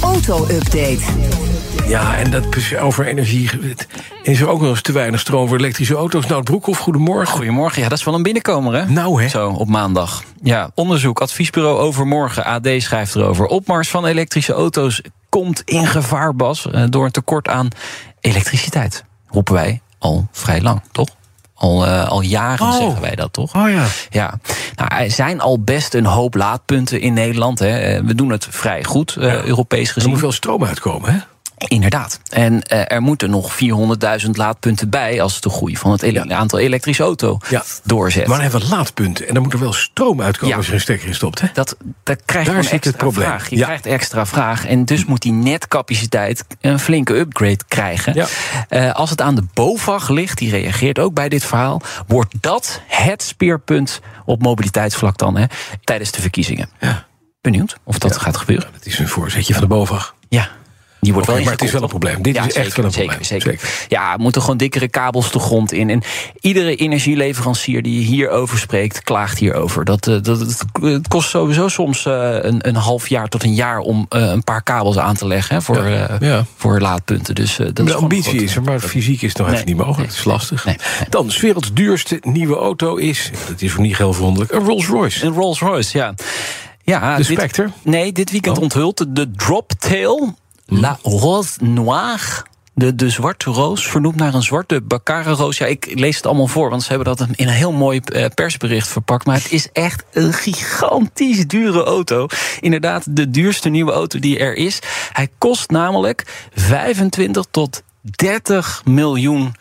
Auto-update. Ja, en dat is over energie. het- Is er ook wel eens te weinig stroom voor elektrische auto's? Nou, Broekhoff, goedemorgen. Goedemorgen, ja, dat is wel een binnenkomer, hè? Nou, hè? Zo, op maandag. Ja, onderzoek, adviesbureau overmorgen. AD schrijft erover. Opmars van elektrische auto's komt in gevaar, Bas, eh, door een tekort aan elektriciteit. Roepen wij al vrij lang, toch? Al, eh, al jaren Oh. zeggen wij dat, toch? Oh ja. Ja, nou, er zijn al best een hoop laadpunten in Nederland. Hè. Eh, We doen het vrij goed, eh, Europees Er gezien. moet wel stroom uitkomen, hè? Inderdaad. En eh, er moeten nog 400.000 laadpunten bij als het de groei van het ele- aantal elektrische auto Ja. doorzet. Maar dan hebben we laadpunten. En dan moet er wel stroom uitkomen Ja. als er een stekker in stopt, hè? dat, dat krijgt Daar gewoon zit het extra probleem. vraag. Je Ja. krijgt extra vraag. En dus moet die netcapaciteit een flinke upgrade krijgen. Ja. Eh, als het aan de BOVAG ligt, die reageert ook bij dit verhaal, wordt dat het speerpunt op mobiliteitsvlak dan hè, tijdens de verkiezingen. Ja. Benieuwd of dat gaat gebeuren. Dat is een voorzetje van de BOVAG. Ja. Die wordt Oké, wel maar het is wel een ingekocht, probleem. Dit toch? is echt wel een probleem. Zeker, zeker. Ja, er moeten gewoon dikkere kabels de grond in. En iedere energieleverancier die hierover spreekt, klaagt hierover. Dat, eh, dat, dat- het kost sowieso soms eh, een, een half jaar tot een jaar om eh, een paar kabels aan te leggen hè, voor, Ja, eh, ja. voor laadpunten. Dus, eh, dat is de gewoon een ambitie grote- is er, maar fysiek is het nog Nee. even niet mogelijk. Het is lastig. Nee. Dan, 's werelds duurste nieuwe auto is... Dat is ook niet heel verwonderlijk. Een Rolls-Royce. Een Rolls Royce, ja. ja De dit- Spectre? nee, dit weekend Oh. Hm. onthult de- de Droptail La Rose Noire. De, de zwarte roos, vernoemd naar een zwarte Baccarat-roos. Ja, ik lees het allemaal voor, want ze hebben dat in een heel mooi eh, persbericht verpakt. Maar het is echt een gigantisch dure auto. Inderdaad, de duurste nieuwe auto die er is. Hij kost namelijk 25 tot 30 miljoen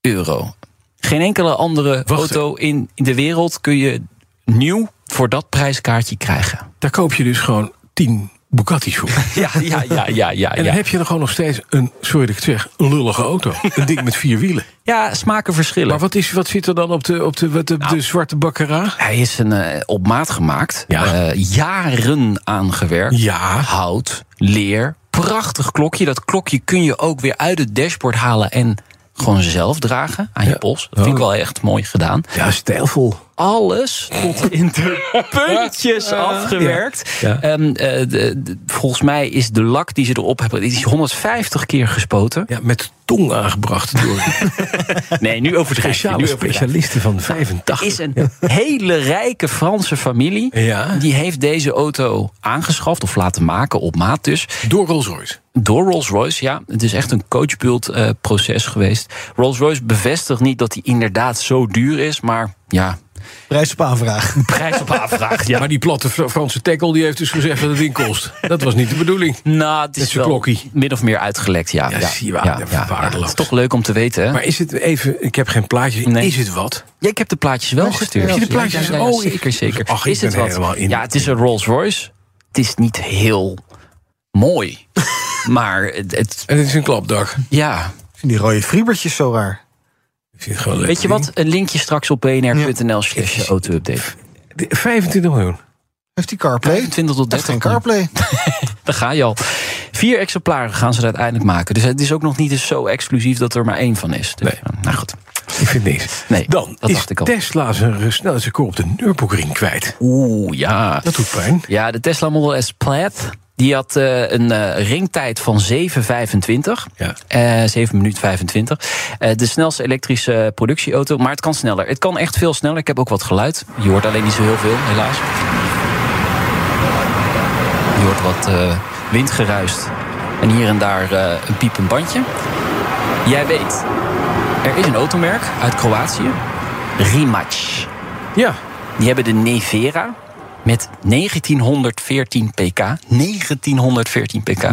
euro. Geen enkele andere Wacht. auto in de wereld kun je nieuw voor dat prijskaartje krijgen. Daar koop je dus gewoon 10 Bugatti's voor. Ja, ja, ja, ja, ja. En dan heb je er gewoon nog steeds een, sorry dat ik het zeg, een lullige auto. Een ding met vier wielen. ja smaken verschillen. Maar wat, is, wat zit er dan op de, op de, wat de, de zwarte bakkera? Hij is een, eh, op maat gemaakt, Ja. eh, jaren aangewerkt. Ja. Hout, leer, prachtig klokje. Dat klokje kun je ook weer uit het dashboard halen en gewoon zelf dragen aan Ja. Oh. je pols. Dat vind ik wel echt mooi gedaan. Ja, stijlvol. alles tot in de puntjes afgewerkt. Ja. Ja. Ehm, eh, de- de- volgens mij is de lak die ze erop hebben, die is 150 keer gespoten. Ja, met tong aangebracht door Nee, nu overdrijf je. Nu speciale overdrijf je. specialisten van 85. Is een hele rijke Franse familie. Ja. Die heeft deze auto aangeschaft of laten maken op maat dus. Door Rolls-Royce. Door Rolls-Royce, ja. Het is echt een coachbuild eh, proces geweest. Rolls-Royce bevestigt niet dat die inderdaad zo duur is. Maar ja, Prijs op aanvraag. prijs op aanvraag. Ja. Maar die platte Fra- Franse tackle die heeft dus gezegd dat het ding kost. Dat was niet de bedoeling. Nou, het Met is zijn wel klokkie. min of meer uitgelekt, ja. Ja, zie je wel, dat is waardeloos. Het is toch leuk om te weten, hè? Maar is het even, ik heb geen plaatje, Nee. is het wat? Ja, ik heb de plaatjes wel gestuurd. heb je de plaatjes? Ja, ja, ja, Oh, ik- zeker, zeker. Ach, ik is het ben helemaal wat? in. Ja, het is een Rolls Royce. Het is niet heel mooi. maar het, het- En het is een klapdak. ja. Ik vind die rode friebertjes zo raar. Ik vind het gewoon een leuk Weet je wat? Een linkje straks op bnr.nl slash auto-update. ding. 25 miljoen. Heeft die CarPlay? 25 tot Heeft 30. geen CarPlay. Daar ga je al. Vier exemplaren gaan ze er uiteindelijk maken. Dus het is ook nog niet eens zo exclusief dat er maar één van is. Dus, Nee. Nou goed. Ik vind niks. Nee, Dan dat is dacht ik al. Tesla zijn snelheidsrecord op de Nürburgring kwijt. Oeh, ja. Dat doet pijn. Ja, de Tesla Model S Plaid. Die had eh, een eh, ringtijd van 7,25. Ja. Eh, 7 minuut 25. Eh, de snelste elektrische productieauto. Maar het kan sneller. Het kan echt veel sneller. Ik heb ook wat geluid. Je hoort alleen niet zo heel veel, helaas. Je hoort wat eh windgeruis. En hier en daar eh, een piepend bandje. Jij weet, er is een automerk uit Kroatië. Rimac. Ja, Die hebben de Nevera met 1914 pk. 1914 pk.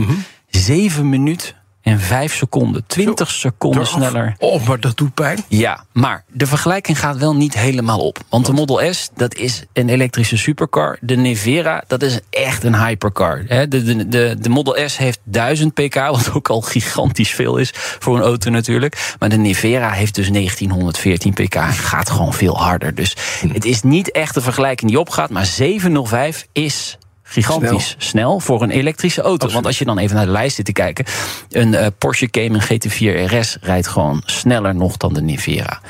7 minuten en 5 seconden. 20 seconden eraf. sneller. Oh, maar dat doet pijn. Ja, maar de vergelijking gaat wel niet helemaal op. Want de Model S, dat is een elektrische supercar. De Nevera, dat is echt een hypercar. Hè, De, de, de, de Model S heeft 1000 pk, wat ook al gigantisch veel is voor een auto natuurlijk. Maar de Nevera heeft dus 1914 pk en gaat gewoon veel harder. Dus het is niet echt een vergelijking die opgaat. Maar 705 is Gigantisch snel. voor een elektrische auto. Want als je dan even naar de lijst zit te kijken. Een eh, Porsche Cayman GT4 RS rijdt gewoon sneller nog dan de Nivera.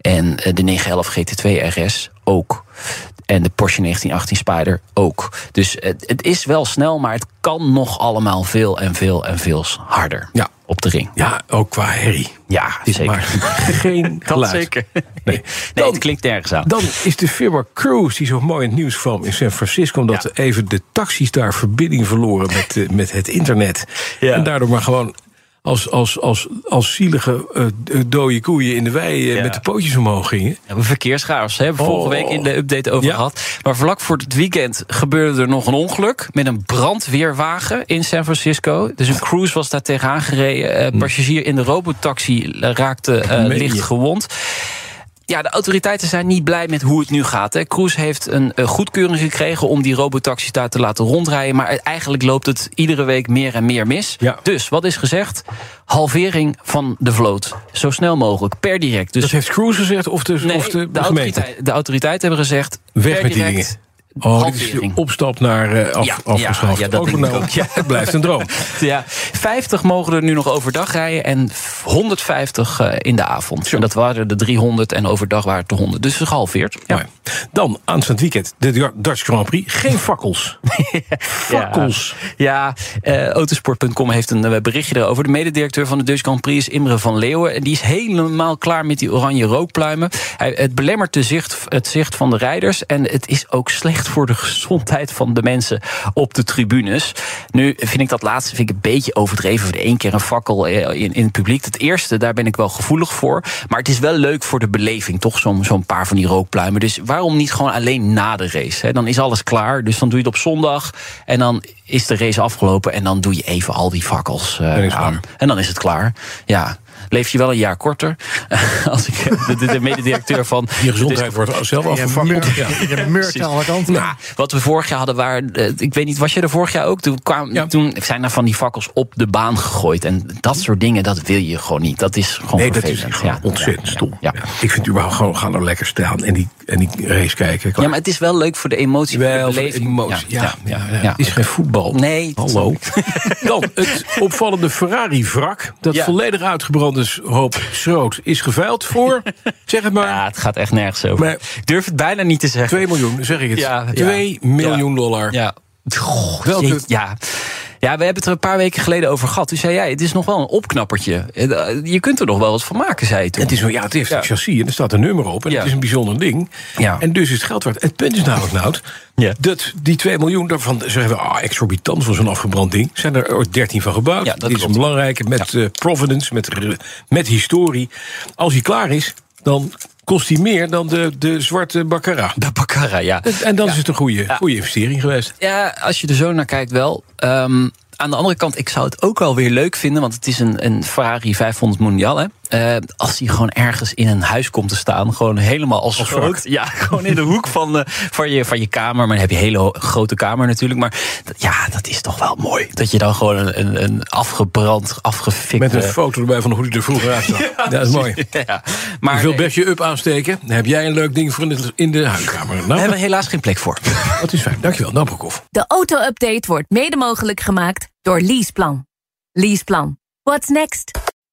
En eh, de 911 GT2 RS ook. En de Porsche 1918 Spider ook. Dus het, het is wel snel, maar het kan nog allemaal veel en veel en veel harder Ja. op de ring. Ja, ook qua herrie. Ja, Is zeker. maar geen Dat geluid. zeker. Nee. Nee, Dan- het klinkt nergens aan. Dan is de firma Cruise, die zo mooi in het nieuws kwam in San Francisco... omdat Ja. even de taxis daar verbinding verloren met, eh, met het internet. Ja. En daardoor maar gewoon als, als, als, als zielige eh, dode koeien in de wei... eh, Ja. met de pootjes omhoog gingen. We hebben verkeerschaos. Hè? Hebben we Oh. vorige week in de update over Ja. gehad. Maar vlak voor het weekend gebeurde er nog een ongeluk. Met een brandweerwagen in San Francisco. Dus een cruise was daar tegenaan gereden. Hm. Eh, passagier in de robotaxi eh, raakte eh, Meen je? licht gewond. Ja, de autoriteiten zijn niet blij met hoe het nu gaat. Hè. Cruise heeft een eh, goedkeuring gekregen om die robotaxis daar te laten rondrijden. Maar eigenlijk loopt het iedere week meer en meer mis. Ja. Dus wat is gezegd? Halvering van de vloot. Zo snel mogelijk, per direct. Dus Dat heeft Cruise gezegd of de, Nee, of de, gemeente? de, autoriteit, de autoriteiten hebben gezegd... Weg per met die direct dingen. Oh, dit is de halvering. opstap naar eh, af, Ja, afgeschaft. ja, ja, dat Ook denk ik nou, ook, ja. Het blijft een droom. Ja, 50 mogen er nu nog overdag rijden en 150 eh, in de avond. En dat waren de 300 en overdag waren het de 100. Dus gehalveerd. Ja. Maar Dan, aanstaand weekend, de Dutch Grand Prix. Geen fakkels. fakkels. Ja, eh, autosport.com heeft een eh, berichtje erover. De mededirecteur van de Dutch Grand Prix is Imre van Leeuwen. En die is helemaal klaar met die oranje rookpluimen. Hij, het belemmert de zicht, het zicht van de rijders. En het is ook slecht voor de gezondheid van de mensen op de tribunes. Nu vind ik dat laatste vind ik een beetje overdreven. Voor de één keer een fakkel eh, in, in het publiek. Het eerste, daar ben ik wel gevoelig voor. Maar het is wel leuk voor de beleving, toch? Zo'n zo'n paar van die rookpluimen. Dus waarom niet gewoon alleen na de race? Hè? Dan is alles klaar. Dus dan doe je het op zondag. En dan is de race afgelopen. En dan doe je even al die fakkels eh, is aan. En dan is het klaar. Ja. Leef je wel een jaar korter? Als ik de, de, de mededirecteur van. Je gezondheid wordt zelf afgefakkeld. Ja. Je meurt aan alle kanten. Nou, wat we vorig jaar hadden, waar, eh, ik weet niet, was jij er vorig jaar ook? Toen, kwam, Ja. toen zijn er van die fakkels op de baan gegooid. En dat soort dingen, dat wil je gewoon niet. Dat is gewoon Nee, dat vervelend. is gewoon Ja, ontzettend ja, stom. Ja. Ja. Ik vind überhaupt gewoon, ga nou lekker staan en die, en die race kijken. Ja, Klaar. maar het is wel leuk voor de emotie, voor Wel, de beleving. emotie. Ja, ja, ja, ja. Het is geen voetbal. Nee, dat Hallo. Dan, het opvallende Ferrari-wrak. Dat Ja. volledig uitgebrand is, hoop schroot, is geveild voor, zeg het maar, Ja, het gaat echt nergens over. Maar- ik durf het bijna niet te zeggen. 2 miljoen, zeg ik het. Ja, ja. 2 miljoen dollar. Ja. Goh, Welke- jeet- ja. ja, we hebben het er een paar weken geleden over gehad. Toen zei jij, het is nog wel een opknappertje. Eh, Je kunt er nog wel wat van maken, zei je toen. Het is wel, ja, het heeft Ja. een chassis en er staat een nummer op. En Ja. het is een bijzonder ding. Ja. En dus is het geld waard. Het punt is namelijk, Nout, Ja. dat die 2 miljoen daarvan zeggen we, ah, exorbitant voor zo'n afgebrand ding. Zijn er ooit 13 van gebouwd. Ja, dat Dit is klopt. een belangrijke met eh, provenance, met, re- met historie. Als hij klaar is, dan kost hij meer dan de, de zwarte Baccarat. De Baccara, ja. En dan is het een goede, goede investering geweest. Ja, als je er zo naar kijkt wel. Ehm, aan de andere kant, ik zou het ook wel weer leuk vinden... want het is een, een Ferrari 500 Mondial, hè. Eh, als die gewoon ergens in een huis komt te staan... gewoon helemaal als, groot. Ja, gewoon in de hoek van, eh, van, je, van je kamer. Maar dan heb je een hele ho- grote kamer natuurlijk. Maar dat- ja, dat is toch wel mooi. Dat je dan gewoon een, een, een afgebrand, afgefikt... Met een foto erbij van hoe hij er vroeger uit zag. Ja, dat is mooi. ja, maar eh, Je wil best je up aansteken. Dan heb jij een leuk ding voor in de, in de huiskamer. we Nou, hebben helaas geen plek voor. dat is fijn. Dankjewel, Nou, Nabokov. De auto-update wordt mede mogelijk gemaakt door Leaseplan. Leaseplan. What's next?